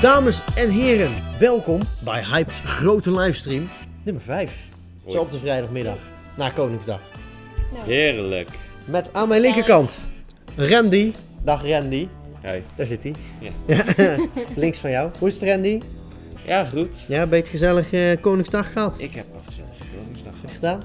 Dames en heren, welkom bij Hyped's grote livestream nummer 5. Zo Hoi. op de vrijdagmiddag, na Koningsdag. Heerlijk. Met aan mijn linkerkant Randy. Dag Randy, Hey. daar zit hij. Ja. Links van jou. Hoe is het Randy? Ja, goed. Ja, ben je het gezellig eh, Koningsdag gehad? Ik heb een gezellige Koningsdag. Heb je gedaan?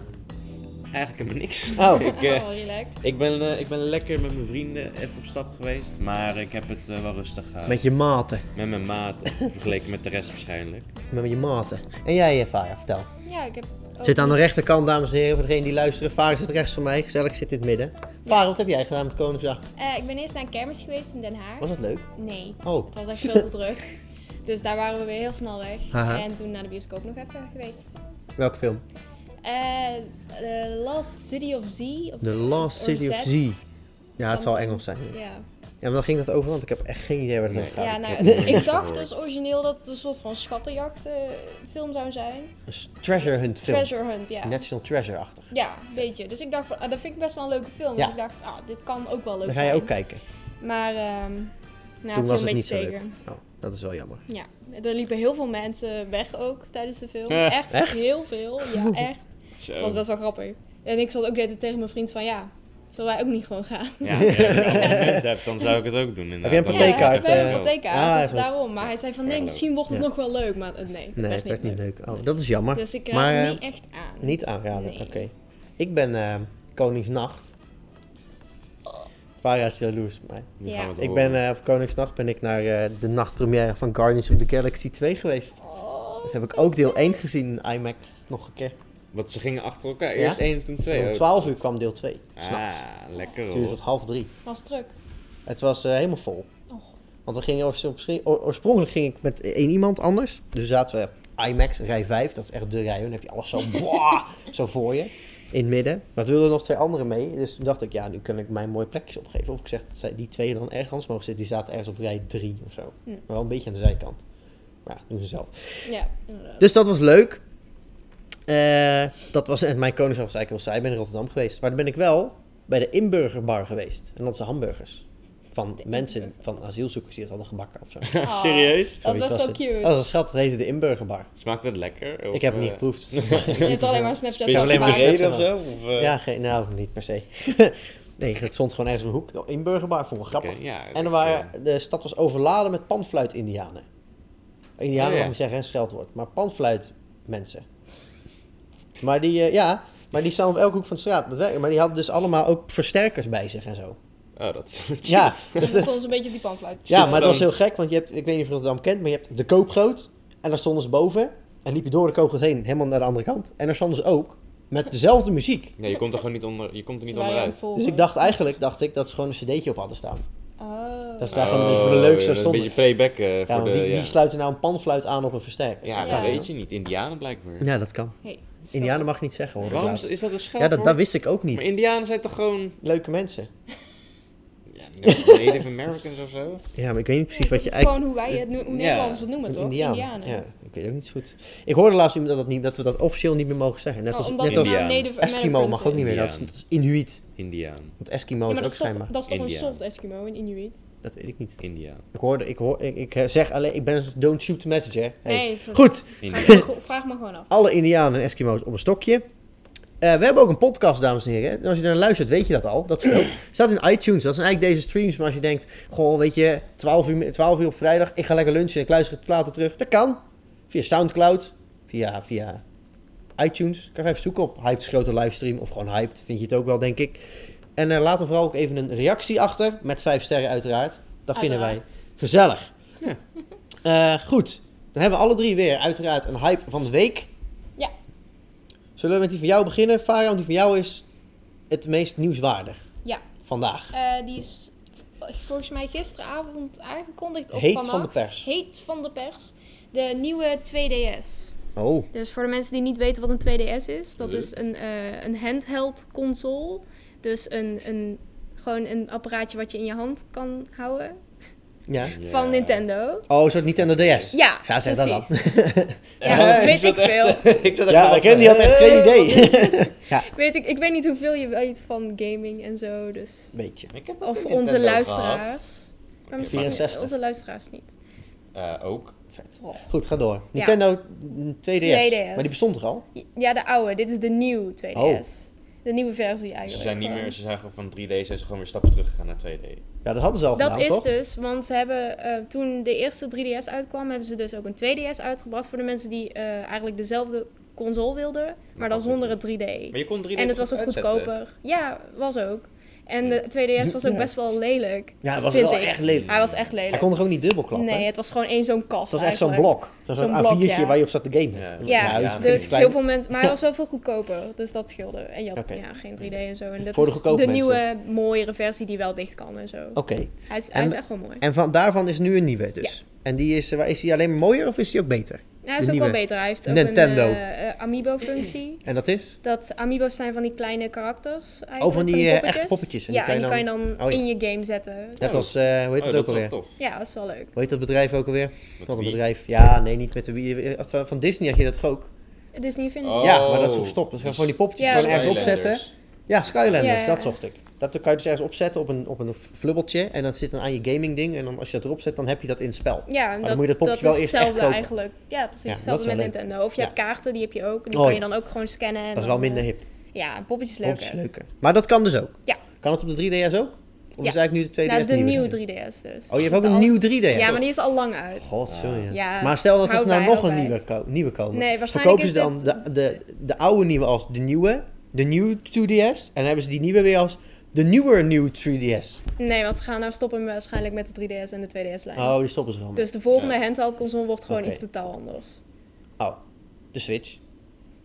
Eigenlijk helemaal niks. Oh. ik, eh, Oh, relaxed. ik, ben, eh, ik ben lekker met mijn vrienden even op stap geweest. Maar ik heb het eh, wel rustig gehad. Met je maten. Met mijn maat. Vergeleken met de rest waarschijnlijk. Met je maten. En jij, eh, Farah, vertel. Ja, ik heb. ook Zit aan de niks. rechterkant, dames en heren. Voor degenen die luisteren, Farah zit rechts van mij. Gezellig zit in het midden. Farah, wat heb jij gedaan met Koningsdag? Eh, ik ben eerst naar een kermis geweest in Den Haag. Was dat leuk? Nee, Oh, het was echt veel te druk. Dus daar waren we weer heel snel weg. Haha. En toen naar de bioscoop nog even geweest. welke film? Eh, The Last City of Z. of- The Last of City of Z. Z. Ja, het zal Something. Engels zijn. Ja, Ja, maar waar ging dat over? Want ik heb echt geen idee waar het Nee. over gaat. ja ik nou, heb het- niks ik gehoord. dacht dus origineel dat het een soort van schattenjachtfilm zou zijn. Een s- treasure hunt film. Treasure Hunt, ja. National Treasure-achtig. Ja, een beetje. Dus ik dacht, van, ah, dat vind ik best wel een leuke film. Dus Ja. ik dacht, ah, dit kan ook wel leuk Dan ga zijn. je ook kijken. Maar, ehm Toen nou, viel was een het beetje niet zo leuk. tegen. Oh, dat is wel jammer. Ja, er liepen heel veel mensen weg ook tijdens de film. Eh, Oh. echt, echt? heel veel. Ja, echt. Dat was Zo. best wel grappig. En ik zat ook de hele tijd tegen mijn vriend van ja, zullen wij ook niet gewoon gaan? Ja, als je een moment hebt, dan zou ik het ook doen. inderdaad. Heb je een Dan ja, partijkaart, heb ik ik ben een het eh, ook. partijkaart, Ah, dus even- daarom. Maar hij zei van nee, Ja. misschien wordt het Ja. nog wel leuk. Maar eh, nee, het Nee, werd het werd niet niet leuk. leuk. Oh, dat is jammer. Dus ik raad maar het eh, niet echt aan. niet aanraden. Nee. Oké. Ik ben eh, Koningsnacht. Farah is jaloers op mij. Nu gaan we het Ik horen. ben eh, op Koningsnacht ben ik naar eh, de nachtpremière van Guardians of the Galaxy 2 geweest. Oh, Dat Dus heb ik zo ook deel leuk. 1 gezien in IMAX. Nog een keer. Want ze gingen achter elkaar. Ja? Eerst één en toen twee. Om ook. 12 uur kwam deel 2. S'nachts. Ah, lekker Toen is het hoor. half drie. Was druk. Het was eh, helemaal vol. Oh. Want we gingen oorspr- oor- oorspronkelijk ging ik met één iemand anders. Dus zaten we IMAX, rij 5. Dat is echt de rij. hoor. Dan heb je alles zo, boah, zo voor je. In het midden. Maar toen wilden nog twee anderen mee. Dus toen dacht ik, ja, nu kan ik mijn mooie plekjes opgeven. Of ik zeg dat zij, die twee dan ergens mogen zitten. Die zaten ergens op rij 3 of zo. Hm. Maar wel een beetje aan de zijkant. Maar ja, doen ze zelf. Ja, inderdaad. Dus dat was leuk. Eh, dat was, en mijn koningsdag was eigenlijk wel saai. Ik ben in Rotterdam geweest. Maar dan ben ik wel bij de inburgerbar geweest. En dat zijn hamburgers. Van De mensen, inburger. van asielzoekers die het hadden gebakken of zo. Oh. Ah. Serieus? Dat Zoiets was het. wel Oh. cute. Dat was een schat, dat heette de inburgerbar. Smaakt het lekker? Of, ik heb het niet eh, geproefd. Je hebt alleen maar een Snapchat Ben je alleen maar maar- gemaakt. reden of zo? Of, eh, Ja, geen, nou, niet per se. nee, het stond gewoon ergens op een hoek. De inburgerbar vond ik oké, grappig. ja, En er dat, eh, waren, de stad was overladen met panfluit-indianen. Indianen Oh, ja. mag niet zeggen, een scheldwoord. Maar panfluit-mensen. Maar die, eh, ja, maar die staan op elke hoek van de straat. Dat werkt. Maar die hadden dus allemaal ook versterkers bij zich en zo. Oh, dat is Ja, Dus dat stond een beetje op die panfluit. ja maar gewoon- dat was heel gek. Want je hebt, ik weet niet of je Rotterdam kent, maar je hebt de koopgroot. En daar stonden ze boven. En liep je door de koopgroot heen, helemaal naar de andere kant. En daar stonden ze ook, met dezelfde muziek. Nee, je komt er gewoon niet onder. Je komt er Ze niet waren aan het onderuit. volgen. Dus ik dacht eigenlijk, dacht ik, dat ze gewoon een cd'tje op hadden staan. Oh. Dat is daar gewoon een beetje voor de leuk zo Een stonden. beetje playback eh, Ja, voor maar de. wie, ja. wie sluit er nou een panfluit aan op een versterker? ja, Ja. dat weet je niet. Indianen blijkbaar. Ja, dat kan. Hey, sorry. Indianen mag niet zeggen, hoor ik Waarom laatst. is dat een Ja, scheldwoord? dat, dat wist ik ook Maar niet. Indianen zijn toch gewoon Leuke mensen. ja, Native Americans of zo? Ja, maar ik weet niet precies Ja, wat je dat is eigenlijk... gewoon hoe wij het, no- hoe Ja. Nederlanders het noemen, Een toch? Indiaan. Indianen. Ja, ik weet ook niet zo goed. Ik hoorde laatst iemand dat, dat, niet, dat we dat officieel niet meer mogen zeggen. Net Oh, als, omdat net het als Indiaan. maar Native Eskimo Americans mag ook niet meer. Dat is, Indiaan. dat is Inuit. Indiaan. Want Eskimo Ja, is maar dat ook is toch, schijnbaar. dat is toch een Indiaan. soft Eskimo, een Inuit? Dat weet ik niet. Indiaan. Ik hoorde, ik, hoor, ik, ik zeg alleen, ik ben don't shoot the messenger. Hey. Nee, het- Goed, Vraag Indiaan. me, go- vraag me gewoon af. alle Indianen en Eskimo's op een stokje. Eh, we hebben ook een podcast, dames en heren. En als je daar naar luistert, weet je dat al. Dat scheelt. staat in iTunes. Dat zijn eigenlijk deze streams. Maar als je denkt, goh, weet je, 12 uur, 12 uur op vrijdag, ik ga lekker lunchen en ik luister het later terug. Dat kan. Via Soundcloud, via, via iTunes. Kan je even zoeken op Hyped's grote livestream of gewoon Hyped. Vind je het ook wel, denk ik. En eh, laat er vooral ook even een reactie achter. Met vijf sterren uiteraard. Dat vinden wij Uiteraard. gezellig. Eh, goed. Dan hebben we alle drie weer uiteraard een hype van de week. Ja. Zullen we met die van jou beginnen, Farah? Want die van jou is het meest nieuwswaardig Ja, vandaag. eh, die is eh, volgens mij gisteravond aangekondigd. Of Heet vannacht. van de pers. Heet van de pers. De nieuwe 2DS. Oh, Dus voor de mensen die niet weten wat een 2DS is, dat Eh. is een, eh, een handheld console. Dus een, een, gewoon een apparaatje wat je in je hand kan houden. ja. Van Nintendo. Oh, een soort Nintendo DS. Ja, Ja, zeg dat dan. precies. Ja, weet ik veel. ik zat echt ja, wel ik ken die van, had echt geen Eh, idee. Weet ik, ik weet niet hoeveel je weet van gaming en zo, dus... Beetje. Ik heb ook Of een onze Nintendo luisteraars. gehad. Maar misschien 64. onze luisteraars niet. eh, ook. Vet. Oh. Goed, ga door. Nintendo mm, 2DS. 2DS. Maar die bestond toch al? Ja, de oude. Dit is de nieuwe 2DS. Oh. De nieuwe versie eigenlijk. Ze zijn niet gewoon. meer, ze zijn gewoon van 3D, zijn ze gewoon weer stappen terug gegaan naar 2D. Ja, dat hadden ze al Dat gedaan, is nou, toch? dus, want ze hebben eh, toen de eerste 3DS uitkwam, hebben ze dus ook een 2DS uitgebracht voor de mensen die eh, eigenlijk dezelfde console wilden, maar dan zonder het 3D. Maar je kon 3D En het was ook toch uitzetten? goedkoper. Ja, was ook. En de 2DS was ook Ja. best wel lelijk. Ja, het was vind wel ik. echt lelijk. Hij was echt lelijk. Hij kon er ook niet dubbel klappen. nee, het was gewoon één zo'n kast. het was echt zo'n eigenlijk. blok. Zo'n Zo'n A4'tje blok, ja. waar je op zat te gamen. Ja. Ja, Ja, iets ja, dus klein. heel veel mensen. Maar hij was wel veel goedkoper, dus dat scheelde. En je had Oké. ja, geen 3D en zo. En dat Voor de is de goedkope nieuwe, mooiere versie die wel dicht kan en zo. Oké. Hij, is, hij En- is echt wel mooi. En van, daarvan is nu een nieuwe dus. En die is, eh, waar- is die alleen maar mooier of is die ook beter? Hij is de ook wel nieuwe beter. Hij heeft ook Nintendo. een eh, eh, amiibo-functie. En dat is? Dat amiibo's zijn van die kleine karakters. eigenlijk, Oh, van die, eh, poppetjes. echte poppetjes. En ja, die en die kan kan je je dan oh, ja. in je game zetten. Net Oh. als, eh, hoe heet dat ook Oh, is wel alweer? tof. Ja, dat is wel leuk. Hoe heet dat bedrijf ook alweer? Met Wat een wie? bedrijf. Ja, nee, niet met de Wii. Eh, Van van Disney had je dat toch ook? Het is niet Infinity. Oh. Ja, maar dat is ook stop. Dat zijn gewoon die poppetjes Ja, gewoon dat ergens is- opzetten. Ja, Skylanders, Ja, ja. dat zocht ik. Dat kan je dus ergens opzetten op een, op een flubbeltje. En dat zit dan aan je gaming ding. En dan, als je dat erop zet, dan heb je dat in het spel. Ja, en Oh, dan dat, moet je dat poppetje is wel eerst echt hetzelfde kopen. eigenlijk. Ja, precies. Ja, hetzelfde dat met is wel leuk. Nintendo. Of je Ja. hebt kaarten, die heb je ook. Die Oh, kan je ja. dan ook gewoon scannen. en Dat is wel dan, minder eh, hip. Ja, een poppetje is leuk. Dat is leuker. Maar dat kan dus ook. Ja. Kan het op de 3DS ook? Of Ja. is eigenlijk nu de 2DS Nou, de nieuwe nieuwe dan? 3DS Oh, je dus. hebt Dus ook de een al- nieuwe 3DS? Ja, maar die is al lang uit. God, sorry. Ja, maar stel dat hou er nou bij, nog een hou bij. nieuwe, ko- nieuwe komen. Nee, waarschijnlijk Verkopen ze dan is de, de, de oude nieuwe als de nieuwe, de nieuwe 2DS. En dan hebben ze die nieuwe weer als de nieuwe nieuwe 3DS. Nee, want ze gaan nou stoppen waarschijnlijk met de 3DS en de 2DS-lijn. Oh, die stoppen ze gewoon. mee. Dus de volgende Ja. handheld console wordt gewoon Oké. iets totaal anders. Oh, de Switch.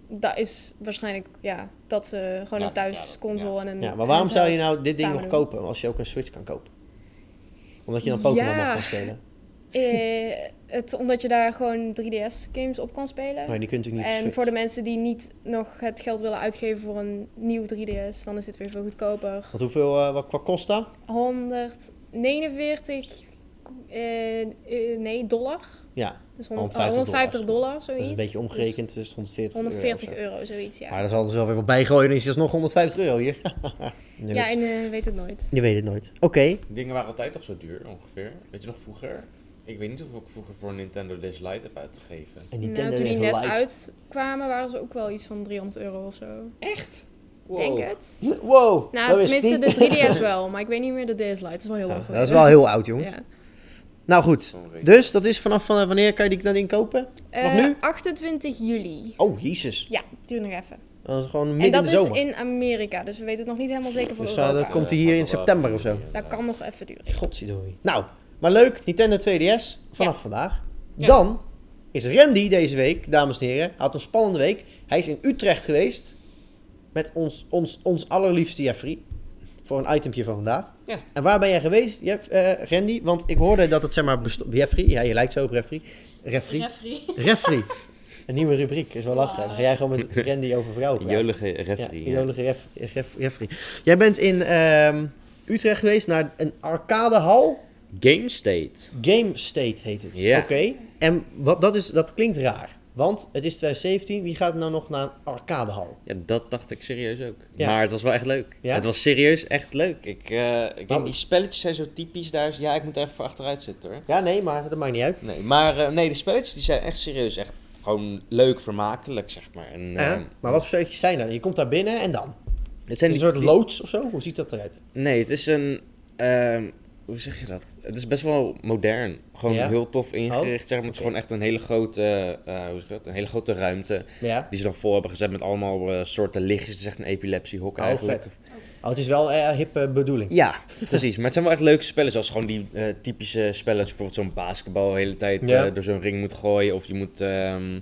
Mm, Dat is waarschijnlijk, ja, dat ze gewoon Ja, een thuisconsole ja. en een Ja, maar waarom zou je nou handheld dit ding nog samen doen? kopen als je ook een Switch kan kopen? Omdat je dan Pokémon Ja. mag gaan spelen. Eh, het, omdat je daar gewoon 3DS-games op kan spelen. Maar die kunt natuurlijk niet op En Switch. voor de mensen die niet nog het geld willen uitgeven voor een nieuw 3DS, dan is dit weer veel goedkoper. Want hoeveel, eh, wat, wat kost dat? 149 eh, eh, nee, dollar. Ja, Dus 100 150 oh, 150 dollar, dat zoiets. is een beetje Dus omgerekend, dus 140 euro of 140 zo. euro, zoiets, ja. Maar daar zal dus wel weer wat bijgooien, dan is het nog 150 euro hier. Nerds. ja, en eh, weet het nooit. Je weet het nooit. Oké, Dingen waren altijd toch zo duur ongeveer. Weet je nog vroeger? Ik weet niet hoeveel ik vroeger voor een Nintendo Dash Lite heb uitgegeven. en Nou, Nintendo toen die heeft net light. uitkwamen, waren ze ook wel iets van 300 euro of zo. Wow. Denk het? Wow, Nou, wist ik tenminste niet. de 3DS wel, maar ik weet niet meer de DS Lite. Dat is wel heel Ja, lang dat is geleden. wel heel oud, jongens. Ja. Nou goed, dus dat is vanaf eh, wanneer kan je die, dat ding kopen? Nog Eh, nu? 28 juli. Oh, jezus. Ja, duurt nog even. Dat is gewoon midden en in dat de is zomer. in Amerika, dus we weten het nog niet helemaal zeker voor Dus, eh, Europa. dat komt hij hier in september of zo? Dat kan nog even duren. Godzijdank. Nou, maar leuk, Nintendo 2DS vanaf Ja. vandaag. Ja. Dan is Randy deze week, dames en heren. Had een spannende week. Hij is in Utrecht geweest met ons, ons, ons allerliefste Jeffrey. Voor een itempje van vandaag. Ja. En waar ben jij geweest, Jeff, eh, Randy? Want ik hoorde dat het zeg maar besto- Jeffrey, ja, je lijkt zo op Jeffrey. Referee. Referee. Referee. Een nieuwe rubriek, is wel lachen. Oh. Dan ga jij gewoon met Randy over vrouwen praten. Jolige Ja, referee. ja. jolige ref, ref- referee. Jij bent in ehm, Utrecht geweest naar een arcadehal. Game State. Game State heet het. Ja. Oké. En wat, dat, is, dat klinkt raar. Want het is 2017. Wie gaat nou nog naar een arcadehal? Ja, dat dacht ik serieus ook. Ja. Maar het was wel echt leuk. Ja? Oh. Het was serieus echt leuk. Ik, eh, ik Maar- denk, die spelletjes zijn zo typisch daar. is- Ja, ik moet er even voor achteruit zitten hoor. Ja, nee, maar dat maakt niet uit. Nee, maar eh, nee, de spelletjes die zijn echt serieus echt gewoon leuk, vermakelijk zeg maar. En, Ja, eh, maar wat voor spelletjes zijn er? Je komt daar binnen en dan? het zijn een die- soort loods of zo? Hoe ziet dat eruit? Nee, het is een. ehm, hoe zeg je dat? Het is best wel modern. Gewoon Ja? Oh, heel tof ingericht. zeg maar. Het is oké. gewoon echt een hele grote. eh, hoe zeg je dat? Een hele grote ruimte. Ja. Die ze dan vol hebben gezet met allemaal eh, soorten lichtjes. Het is echt een epilepsiehok Oh, eigenlijk. vet. Oh, het is wel een hippe bedoeling. Ja, precies. Maar het zijn wel echt leuke spellen. Zoals gewoon die eh, typische spellen. Dat je bijvoorbeeld zo'n basketbal de hele tijd Ja. eh, door zo'n ring moet gooien. Of je moet. ehm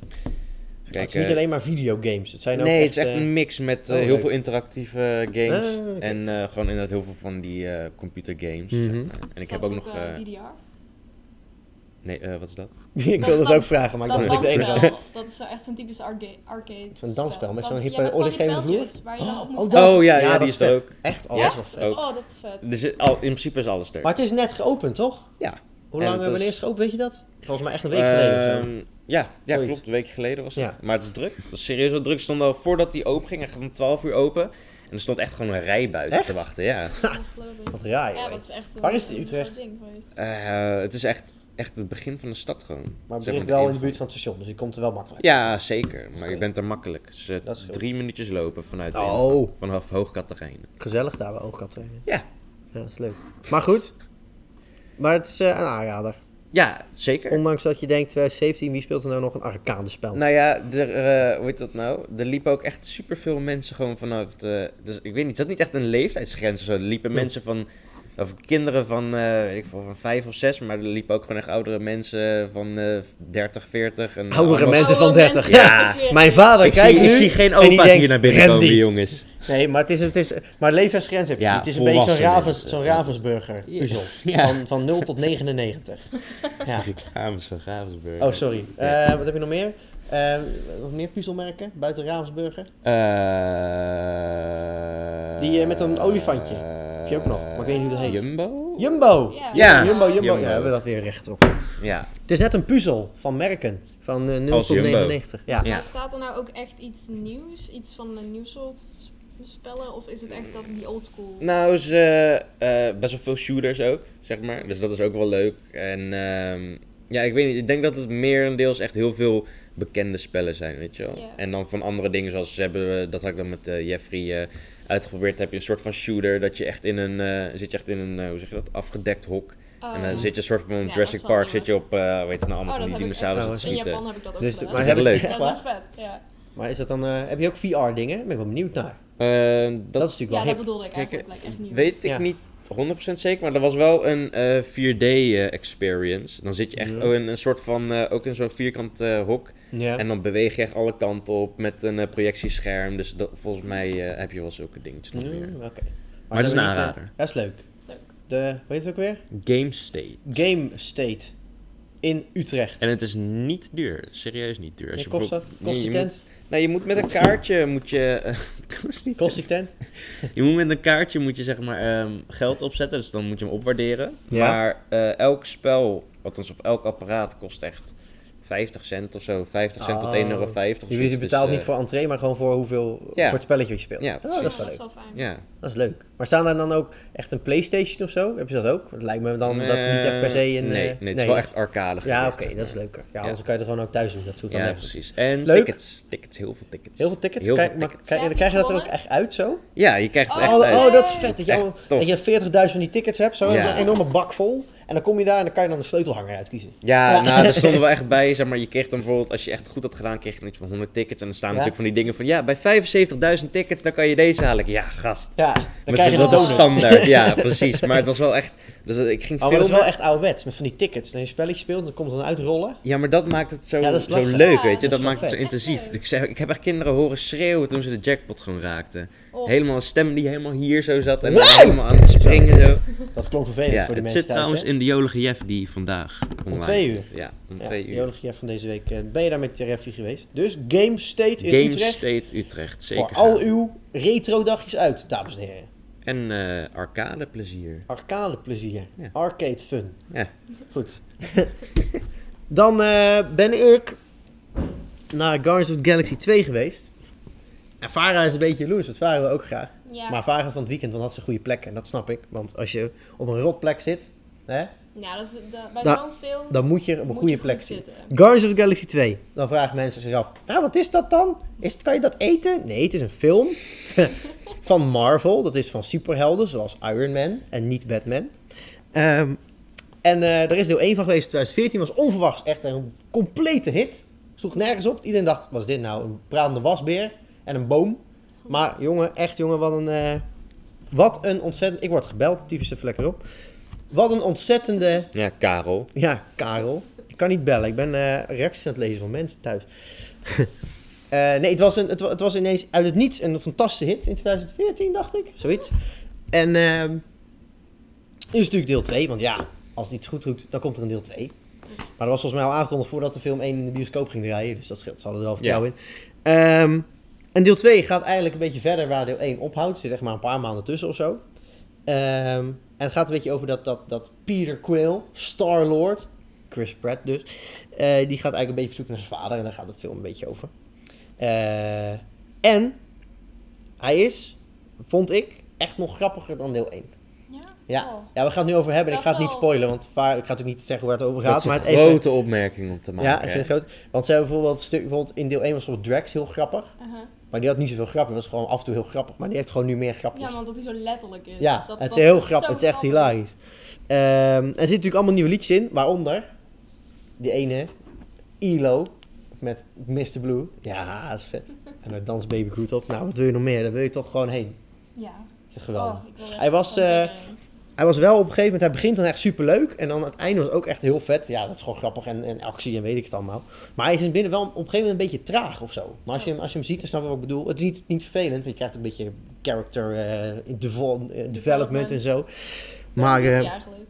even het is kijken. niet alleen maar videogames. Het zijn ook eh, Nee, het is echt eh, een mix met eh, Oh, heel leuk. veel interactieve games. Ah, oké. En eh, gewoon inderdaad heel veel van die eh, computergames. Mhm. zeg maar. En ik heb ook nog. eh, DDR. Nee, eh, wat is dat? ik wil Dat dat ook dan- vragen, maar ik dacht dat ik de enige was. dansspel. Dat is zo echt zo'n typisch arga- arcade. Zo'n dansspel met Dan- zo'n je hippe hebt gewoon die oorliggevende vloer. pijltjes Waar je dan op moet dat- staan. Oh, ja, ja, dat die is is er vet. ook. Echt, Ja? alles wat vet. Ook. Oh, dat is vet. Er zit al, in principe is alles er. Maar het is net geopend, toch? Ja. Hoe En lang, het eh, wanneer was- is het geopend, weet je dat? Volgens mij echt een week geleden of zo. Ehm, ja, ja Zoiets. klopt. Een week geleden was het. Ja. Maar het is druk. Het was serieus wel druk. Ze stonden al voordat die open ging, echt om 12 uur open. En er stond echt gewoon een rij buiten Echt? te wachten. Ja. Ongelooflijk. Wat raar, joh. Ja, dat is echt een Waar is die een Utrecht? ding geweest. Eh, het is echt echt het begin van de stad gewoon. Maar het Zeg ligt de wel in de ingang. buurt van het station, dus je komt er wel makkelijk. Ja, zeker. Maar Oké. je bent er makkelijk. Dus, eh, Dat scheelt. drie minuutjes lopen vanuit de Oh. ingang, vanaf Hoogkaterijnen. Gezellig daar bij Oogkatrainen. Ja. Ja, dat is leuk. Maar goed. Maar het is eh, een aanrader. Ja, zeker. Ondanks dat je denkt, 2017, wie speelt er nou nog een arcade spel? Nou ja, er, eh, hoe heet dat nou? Er liepen ook echt superveel mensen gewoon vanaf de... Dus ik weet niet, dat niet echt een leeftijdsgrens of zo. Er liepen Ja. mensen van... Of kinderen van, eh, weet ik veel, van vijf of zes. Maar er liepen ook gewoon echt oudere mensen van eh 30, 40. En Oudere allemaal- Oh, mensen van 30. Ja. Mijn vader, Ik, kijkt zie, nu. ik zie geen en die opa's denkt, hier naar binnen Randy. komen, jongens. Nee, maar het is, het is maar leeftijdsgrens heb je Ja, niet. Het is een beetje zo'n, volwassenen. Ravens, zo'n Ravensburger puzzel. Ja. Van, van 0 tot 99. Ja. Reclames van Ravensburg. Oh, sorry. Eh, wat heb je nog meer? Eh, nog meer puzzelmerken buiten Ravensburger? Eh, Die, eh, met een olifantje. Heb je ook nog? Maar ik weet niet hoe dat heet. Jumbo? Jumbo! Ja. Eh, Ja. Jumbo, Jumbo. Jumbo. Ja, we hebben dat weer recht op. Ja. Het is net een puzzel van merken. Van eh, 0 Als tot Jumbo. 99. Ja. Ja. Maar staat er nou ook echt iets nieuws? Iets van een nieuw soort spellen? Of is het echt dat die old school? Nou, is eh, eh, best wel veel shooters ook, zeg maar. Dus dat is ook wel leuk. En ehm, ja, ik weet niet. Ik denk dat het merendeels echt heel veel bekende spellen zijn, weet je wel. Ja. En dan van andere dingen zoals ze hebben, we- dat had ik dan met eh, Jeffrey eh, uitgeprobeerd. Heb je een soort van shooter dat je echt in een, eh, zit je echt in een, eh, hoe zeg je dat, afgedekt hok. Oh. En dan zit je een soort van dat is Jurassic wel Park, leuk. zit je op, eh weet je nou, allemaal Oh, van dat die heb ik dinosaurussen te echt- In schieten. Japan heb ik dat ook Dus- gedaan. maar hebben ze- dat is leuk. echt Echt vet, ja. Maar is dat dan, eh, heb je ook VR dingen? Daar ben ik wel benieuwd naar. Eh, dat Dat, is natuurlijk Ja, wel dat hip. bedoelde ik Kijk, eigenlijk. Like, echt nieuw. Weet ik Ja. niet 100% zeker, maar er was wel een eh, 4D eh, experience. Dan zit je echt Ja. oh, in een soort van, eh, ook in zo'n vierkant eh, hok. Ja. En dan beweeg je echt alle kanten op met een eh, projectiescherm. Dus dat, volgens mij eh, heb je wel zulke dingetjes nog meer. Mm, Oké. Maar het is zijn we een niet, eh, aanrader. Dat is leuk. Leuk. De, weet je het ook weer? Game State. Game State in Utrecht. En het is niet duur, serieus niet duur. Nee, kost dat? bijvoorbeeld- Kost die je tent? Moet, nee, je moet met een kaartje, moet je... eh, het kost niet Kost die tent? Je moet met een kaartje moet je zeg maar ehm, geld opzetten, dus dan moet je hem opwaarderen. Ja. Maar eh, elk spel, althans of elk apparaat, kost echt 50 cent of zo, 50 cent tot Oh. 1,50 euro. Dus, Je, je betaalt niet voor entree, maar gewoon voor hoeveel, eh, Ja. voor het spelletje wat je speelt. Ja, oh, dat is wel dat is leuk. wel fijn. eh, Ja, Dat is leuk. Maar staan daar dan ook echt een Playstation of zo? Heb je dat ook? Het lijkt me dan dat niet echt per se Eh, een... Nee, nee eh, het is wel echt arcade Ja, gericht, oké, zeg dat is maar. leuker. Ja, Ja. anders kan je er gewoon ook thuis doen. Dat voelt dan Ja, echt. precies. En Leuk. tickets, tickets, heel veel tickets. Heel veel tickets. Heel Kijk, veel maar tickets. kijk- en dan krijg je dat er ook echt uit zo? Ja, je krijgt het Oh, echt eh, Oh, uit. oh, dat is vet. Dat je, Echt al- tof. dat je 40.000 van die tickets hebt, zo. Ja. Een enorme bak vol. En dan kom je daar en dan kan je dan de sleutelhanger uitkiezen. Ja, Ja. nou, daar stonden we echt bij. Zeg maar, je kreeg dan bijvoorbeeld, als je echt goed had gedaan, kreeg je dan iets van 100 tickets. En dan staan Ja. natuurlijk van die dingen van, ja, bij 75.000 tickets, dan kan je deze halen. Ik, Ja, gast. Ja, dan Met krijg je zo'n- een dat is donut. Oh, standaard, ja, precies. Maar het was wel echt. Dus ik ging maar dat is filmen. wel echt ouderwets, met van die tickets. Dan je een spelletje speelt, dan komt het dan uitrollen. Ja, maar dat maakt het zo, Ja, dat is zo lachen. leuk, Ja, weet je. dat Dat, is wel maakt het zo vet. intensief. Echt Ik, zeg, ik heb echt kinderen horen schreeuwen toen ze de jackpot gewoon raakten. Oh. Helemaal een stem die helemaal hier zo zat en Wow! helemaal aan het springen zo. Dat klonk vervelend Ja, voor de het mensen zit thuis, trouwens hè? in de jolige Jeff die vandaag online twee uur. komt. Ja, om Ja, twee de uur. jolige Jeff van deze week eh, ben je daar met je refie geweest. Dus Game State in Game Utrecht. State Utrecht, zeker. voor al gaan. uw retro dagjes uit, dames en heren. En eh, arcade plezier. Arcade plezier. Ja. Arcade fun. Ja. Goed. Dan eh, ben ik naar Guardians of the Galaxy 2 geweest. En Farah is een beetje jaloers, dat waren we ook graag. Ja. Maar Farah van het weekend, want had ze een goede plek. En dat snap ik. Want als je op een rotplek zit, hè, Ja, dat is, dat- bij Nou, zo'n film dan moet je op een moet goede je goed plek zitten. zitten. Guardians of the Galaxy 2. Dan vragen mensen zich af, nou wat is dat dan? Is, kan je dat eten? Nee, het is een film van Marvel. Dat is van superhelden zoals Iron Man en niet Batman. Ehm, en eh, er is deel 1 van geweest. 2014 was onverwachts echt een complete hit. Sloeg nergens op. Iedereen dacht, was dit nou een pratende wasbeer en een boom? Maar jongen, echt jongen, wat een, eh, wat een ontzettend... Ik word gebeld, tyfus even lekker op. Wat een ontzettende Ja, Karel. ja, Karel. Ik kan niet bellen. Ik ben eh, reacties aan het lezen van mensen thuis. Eh, nee, het was, een, het, wa- het was ineens uit het niets een fantastische hit in 2014, dacht ik. Zoiets. En ehm nu is het natuurlijk deel 2. Want ja, als het iets goed doet, dan komt er een deel 2. Maar dat was volgens mij al aangekondigd voordat de film 1 in de bioscoop ging draaien. Dus dat scheelt. Ze hadden er wel vertrouwen in. Ehm, en deel 2 gaat eigenlijk een beetje verder waar deel 1 ophoudt. Er zit echt maar een paar maanden tussen of zo. Ehm, en het gaat een beetje over dat, dat, dat Peter Quill, Star-Lord, Chris Pratt dus, eh, die gaat eigenlijk een beetje op zoek naar zijn vader en daar gaat het film een beetje over. Eh, en hij is, vond ik, echt nog grappiger dan deel 1. Ja. Ja. Oh. ja, we gaan het nu over hebben. en Ik Dat ga het niet wel. spoilen, want vaar- ik ga natuurlijk niet zeggen waar het over Dat gaat. is een Maar het grote even, opmerking om te maken. ja, het is een groot. Want ze hebben bijvoorbeeld, een stuk, bijvoorbeeld in deel 1 was bijvoorbeeld Drax heel grappig. Aha. Maar die had niet zoveel grappen. Dat was gewoon af en toe heel grappig. Maar die heeft gewoon nu meer grapjes. Ja, want dat hij zo letterlijk is. Ja, Dus Dat- het dat is heel zo grappig. Het is echt hilarisch. Ehm, er zitten natuurlijk allemaal nieuwe liedjes in, waaronder die ene, ILO, met Mr. Blue. Ja, dat is vet. En daar danst Baby Groot op. Nou, wat wil je nog meer? Daar wil je toch gewoon heen. Ja. Dat is geweldig. Oh, ik wil er Hij was, gewoon eh, weer heen. Hij was wel op een gegeven moment, hij begint dan echt superleuk. En dan aan het einde was het ook echt heel vet. Ja, dat is gewoon grappig en, en actie en weet ik het allemaal. Maar hij is in het binnen wel op een gegeven moment een beetje traag of zo. Maar als je hem, als je hem ziet, dan snap je wat ik bedoel. Het is niet, niet vervelend, want je krijgt een beetje character eh, devo- eh, development en zo. Waarom Maar... doet eh, hij eigenlijk?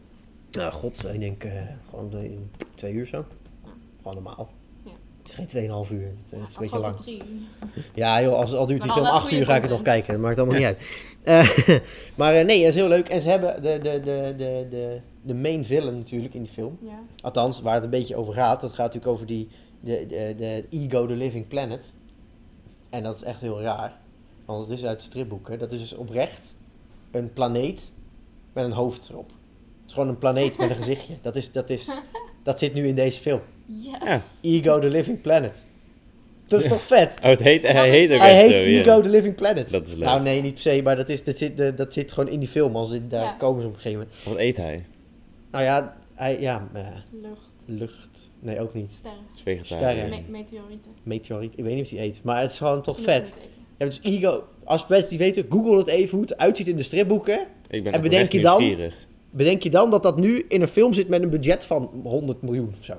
Nou, god, ik denk eh, gewoon de- twee uur zo. Gewoon normaal. Ja. Het is geen 2,5 uur. Het, het is een beetje Afgelopen lang. drie. Ja, joh, als het al duurt die Maar film wel 8 uur, goede ga ik het nog content. kijken. Het maakt allemaal niet uit. Eh, maar eh, nee, het is heel leuk. En ze hebben de, de, de, de, de, de main villain natuurlijk in die film. Ja. Althans, waar het een beetje over gaat. Dat gaat natuurlijk over die de, de, de ego, the living planet. En dat is echt heel raar. Want het is uit stripboeken. Dat is dus oprecht een planeet met een hoofd erop. Het is gewoon een planeet met een gezichtje. Dat, is, dat, is, dat zit nu in deze film. Yes. Ja. Ego, the living planet. Dat is toch vet? Oh, het heet, hij heet ook Hij echt heet zo, ja. Ego, the living planet. Dat is leuk. Nou nee, niet per se, maar dat, is, dat, zit, eh, dat zit gewoon in die film. Als in, daar Ja. komen ze op een gegeven moment. Wat eet hij? Nou ja, hij, ja eh, Lucht, lucht. Nee, ook niet. sterren, Is Sterren. vegetariër. me- meteorieten. meteoriet. Ik weet niet of die eet, maar het is gewoon toch Misschien vet. moet ik het eten. Ja, dus Ego, als mensen die weten, google het even hoe het uitziet in de stripboeken. Ik En ben bedenk en bedenk je dan- nieuwsgierig. Bedenk je dan dat dat nu in een film zit met een budget van 100 miljoen of zo.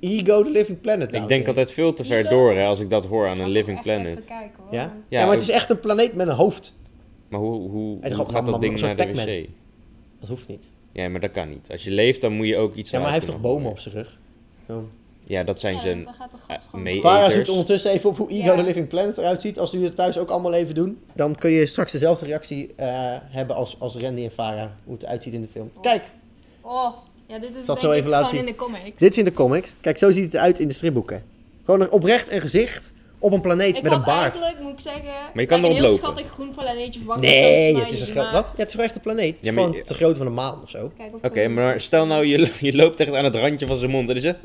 Ego, The Living Planet. nou, dames ik denk en heren. altijd veel te ver Ego. door hè, als ik dat hoor aan Ik ga een toch living echt planet. Even kijken, hoor. Ja? Want Ja, maar het is ook- echt een planeet met een hoofd. Maar hoe, hoe, En hoe gewoon gaat dat een ding naar soort de Pac-Man. wc? Dat hoeft niet. Ja, maar dat kan niet. Als je leeft, dan moet je ook iets Ja, maar hij heeft eruit toch kunnen bomen op gooien. zijn rug? Zo. Ja, dat zijn Ja, zijn... dan gaat de gas eh, gewoon mee- door. Vara Haters. zoekt ondertussen even op hoe Ego Ja. the Living Planet eruit ziet. Als jullie het thuis ook allemaal even doen, dan kun je straks dezelfde reactie eh, hebben als, als Randy en Vara. Hoe het eruit ziet in de film. Kijk, Oh, ja, dit is zal denk het zo ik even laten gewoon zien. in de comics. dit is in de comics. Kijk, zo ziet het eruit in de stripboeken. Gewoon een oprecht een gezicht op een planeet ik met had een baard. eigenlijk, moet ik zeggen, Maar je kan like een erop heel lopen. schattig groen planeetje verwacht. Nee, het is een groot. Wat? Wat? Ja, het is wel echt een planeet. Het is Ja, maar- gewoon te groot van een maan of zo. Kijk of Oké, maar stel nou, je, lo- je loopt echt aan het randje van zijn mond. En is het...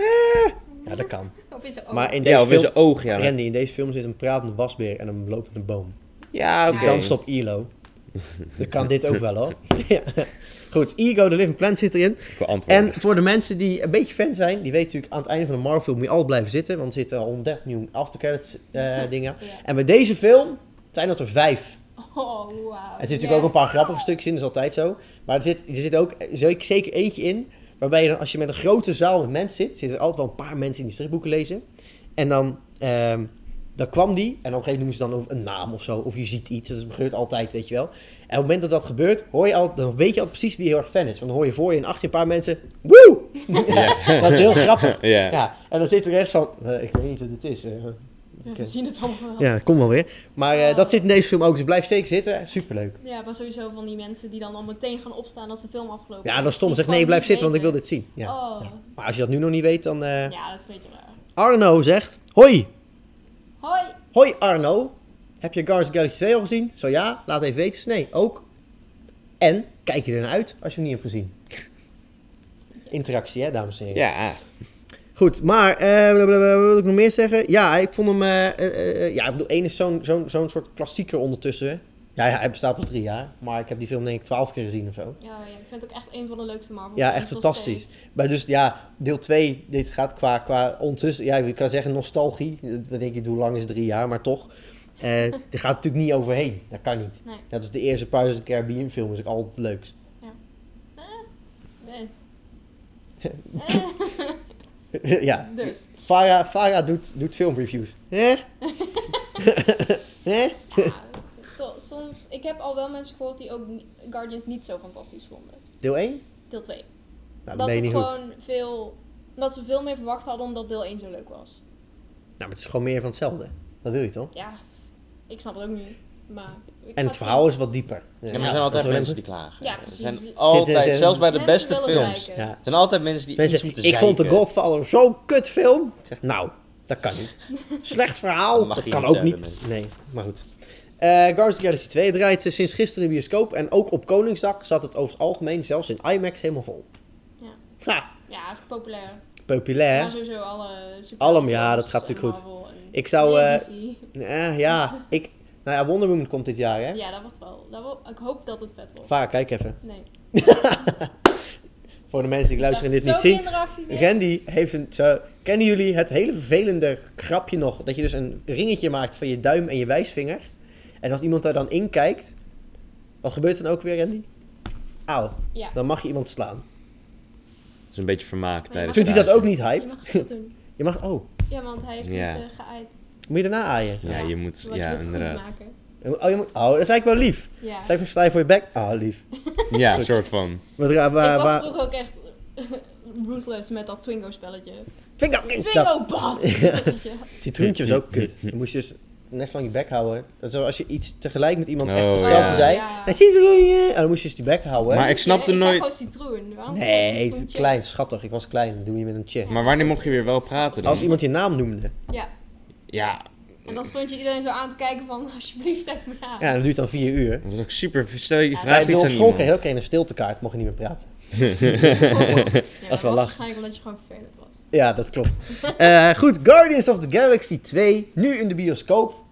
Ja, dat kan. Of is er ook. Maar in Ja, deze of in film... zijn oog, ja. Randy, in deze film zit een pratende wasbeer en een lopende boom. Ja, oké. Die danst op ILO. Dat kan dit ook wel hoor. Ja. Goed, Ego, The Living Planet zit erin. Ik wil antwoorden. En voor de mensen die een beetje fan zijn, die weten natuurlijk aan het einde van de Marvel film moet je altijd blijven zitten, want er zitten al 130 miljoen aftercredits eh dingen. Ja. En bij deze film zijn dat er vijf. Oh, wauw. Er zitten natuurlijk ook een paar grappige stukjes in, dat is altijd zo. Maar er zit, er zit ook eh, zeker zeker eentje in, waarbij je dan als je met een grote zaal met mensen zit, zitten er altijd wel een paar mensen die die stripboeken lezen. En dan, ehm, dan kwam die, en op een gegeven moment noemen ze dan ook een naam of zo, of je ziet iets, dat gebeurt altijd, weet je wel. En op het moment dat dat gebeurt, hoor je al, dan weet je al precies wie heel erg fan is. Want dan hoor je voor je in achter je een paar mensen, woe! Ja, dat is heel grappig. Ja. Ja, en dan zit er echt van, eh, ik weet niet wat het is. eh. Ja, we zien het allemaal wel. Ja. ja, kom wel weer. Maar eh, dat zit in deze film ook, dus blijf zeker zitten, superleuk. maar sowieso van die mensen die dan al meteen gaan opstaan als de film afgelopen is. Ja, dan Die stond zegt gewoon nee, blijf niet zitten, want ik wil weten. dit zien. Ja. Oh, Ja. Maar als je dat nu nog niet weet, dan... eh, ja, dat is een beetje raar. Arno zegt, hoi, Hoi! hoi Arno. Heb je Guardians of the Galaxy 2 al gezien? Zo ja, laat even weten. Zo nee, ook. En, kijk je er naar uit als je hem niet hebt gezien? Interactie, hè, dames en heren. Ja, Goed, maar eh, blablabla, wat wil ik nog meer zeggen? Ja, ik vond hem. eh, eh, eh, eh, ja, ik bedoel, één is zo'n zo'n zo'n soort klassieker ondertussen. Ja, ja, hij bestaat pas drie jaar, maar ik heb die film denk ik twaalf keer gezien of zo. Ja, ja, ik vind het ook echt een van de leukste Marvel Ja, films echt nog fantastisch. steeds. Maar dus ja, deel 2, dit gaat qua, qua ondertussen, ja, je kan zeggen nostalgie. Dan denk je, hoe lang is drie jaar, maar toch. Eh daar gaat het natuurlijk niet overheen. Dat kan niet. Nee. Dat is de eerste Pirates of the Caribbean film, is ook altijd het leukst. Nee. Eh, ja, Dus, Farah, Farah doet, doet filmreviews. Hè? Hè? ja, so- soms, ik heb al wel mensen gehoord die ook ni- Guardians niet zo fantastisch vonden. Deel 1? Deel 2. Nou, dat dat ben je het niet goed. gewoon veel. Dat ze veel meer verwacht hadden omdat deel 1 zo leuk was. Nou, maar het is gewoon meer van hetzelfde. Dat wil je toch? Ja, ik snap het ook niet. Maar. ik En ga het verhaal is wat dieper. ja. Ja, maar er dat zijn altijd is wel mensen die een- klagen. Ja, Er precies. zijn Dit is altijd, een- zelfs bij de Mensen beste willen films, zeiken. Ja. er zijn altijd mensen die Mensen, iets moeten ik vond The zeiken. Godfather zo'n kutfilm. Ik Zeg, nou, dat kan niet. Slecht verhaal, Dat dat, mag je kan niet ook hebben, niet. Nee, maar goed. Eh, Guardians of the Galaxy 2 draait eh, sinds gisteren in de bioscoop. En ook op Koningsdag zat het over het algemeen zelfs in IMAX helemaal vol. Ja. Ha, Ja, het is populair. Maar populair. sowieso alle super Allem, ja, dat gaat natuurlijk goed. Ik zou, eh, Eh, ja, ik... Nou ja, Wonder Woman komt dit jaar, hè? Ja, dat wordt wel. Dat wordt- ik hoop dat het vet wordt. Vaak, kijk even. Nee. Voor de mensen die luisteren en dit niet zien. zien. Randy heeft een... Zo, kennen jullie het hele vervelende grapje nog? Dat je dus een ringetje maakt van je duim en je wijsvinger. En als iemand daar dan in kijkt... Wat gebeurt er dan ook weer, Randy? Auw. Ja. Dan mag je iemand slaan. Het is een beetje vermaak tijdens Vindt u het dat ook aaien. niet Je hyped? mag het doen. Je mag... Oh, Ja, want hij heeft Ja. niet eh, geaaid. moet je daarna aaien? Ja, je moet, want ja, je wilt het goed inderdaad. maken. Oh, je moet, oh, dat is eigenlijk wel lief. Ja. Zij van, sta je voor je bek? Ah, lief. Ja, Goed. soort van. Wat raar, waar, ik was waar... vroeger ook echt ruthless met dat Twingo-spelletje. Twingo! Nou, Twingo-bad! Citroentje was ook kut. Dan moest je dus net zo lang je bek houden. Dat is wel als je iets tegelijk met iemand echt Oh, hetzelfde ja. zei. Ja. Dan citroentje! En dan moest je dus die bek houden. Maar ik snapte nooit... Ik zag gewoon citroen. Waarom zei Nee, je het is citroentje? klein, schattig. Ik was klein. Dat doe je met een tje. Maar wanneer mocht je weer wel praten dan? Als iemand je naam noemde. Ja, Ja, en dan stond je iedereen zo aan te kijken van alsjeblieft zeg me na. Ja, dat duurt dan vier uur. dat was ook super. Stel je Ja, Bij vraagt de iets op aan school kreeg je ook iemand. een stiltekaart. Mocht je niet meer praten. Ja, is wel was lach. waarschijnlijk omdat je gewoon vervelend was. Ja, dat klopt. Eh, goed, Guardians of the Galaxy 2. Nu in de bioscoop.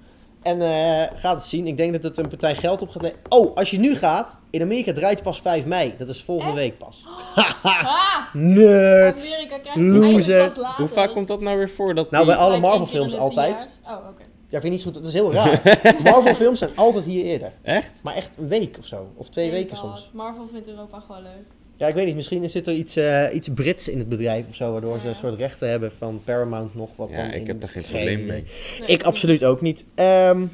En eh gaat het zien. Ik denk dat het een partij geld op gaat le- Oh, als je nu gaat. In Amerika draait het pas 5 mei. Dat is volgende Echt? week pas. Ah, Nerds! Amerika krijgt het eigenlijk loser. pas later. Hoe vaak komt dat nou weer voor? Dat Nou, die- bij alle Krijgt één Marvel keer in films de altijd. 10 jaar. Oh, oké. Ja, vind je niet zo goed. Dat is heel raar. Marvel films zijn altijd hier eerder. Echt? Maar echt een week of zo. Of twee Weet weken ik wel. soms. Marvel vindt Europa gewoon leuk. Ja, ik weet niet. Misschien zit er iets, eh, iets Brits in het bedrijf of zo. Waardoor ze Ja. een soort rechten hebben van Paramount nog. Wat Ja, dan ik in- heb daar geen probleem idee. mee. Nee, Ik absoluut ook niet. Ehm,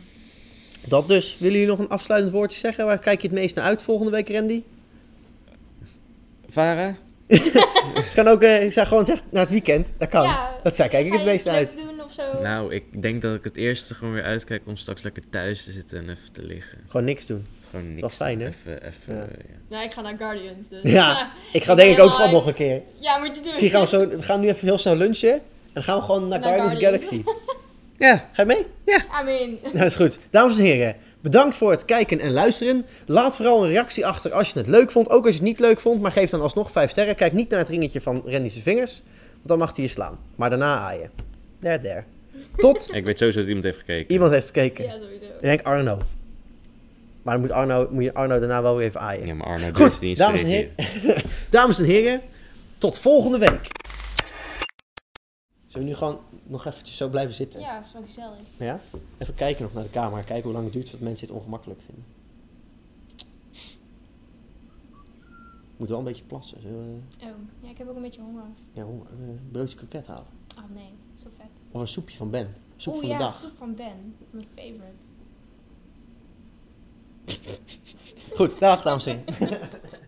dat dus. Willen jullie nog een afsluitend woordje zeggen? Waar kijk je het meest naar uit volgende week, Randy? Varen? Het kan ook, eh, ik zou gewoon zeggen, naar het weekend. Dat kan. Ja, dat zei, kijk ik Ga het je meest iets naar uit. leuks doen of zo? Nou, ik denk dat ik het eerst gewoon weer uitkijk om straks lekker thuis te zitten en even te liggen. Gewoon niks doen. Gewoon niks. Wel fijn, hè? Even, even, Ja. eh, ja. Ja, ik ga naar Guardians dus. Ja, ik ga Ik denk ik ben ook gewoon helemaal nog een keer. Ja, moet je doen. Misschien gaan we, zo, we gaan nu even heel snel lunchen. En dan gaan we gewoon naar, Naar Guardians Guardians. Galaxy. Ja, Ga je mee? I mean, Nou, is goed. Dames en heren, bedankt voor het kijken en luisteren. Laat vooral een reactie achter als je het leuk vond. Ook als je het niet leuk vond, maar geef dan alsnog 5 sterren. Kijk niet naar het ringetje van Randy's vingers, want dan mag hij je slaan. Maar daarna aaien. There, there. Tot ik weet sowieso dat iemand heeft gekeken. iemand heeft gekeken. ja, sowieso. Ik denk Arno. Maar dan moet, Arno, moet je Arno daarna wel weer even aaien. Ja, maar Arno durft niet Goed, eens te dames en, heren, reageren. dames en heren, tot volgende week. Zullen we nu gewoon nog eventjes zo blijven zitten? Ja, dat is wel gezellig. Ja? Even kijken nog naar de camera, kijken hoe lang het duurt voordat mensen dit ongemakkelijk vinden. Moet wel een beetje plassen. Zullen we- Oh, ja, ik heb ook een beetje honger. ja, honger. Eh, een broodje kroket halen? Ah nee, zo vet. Of een soepje van Ben? Soep Oeh van Oh ja, de dag. soep van Ben. Mijn favorite. Goed, dag dames en heren.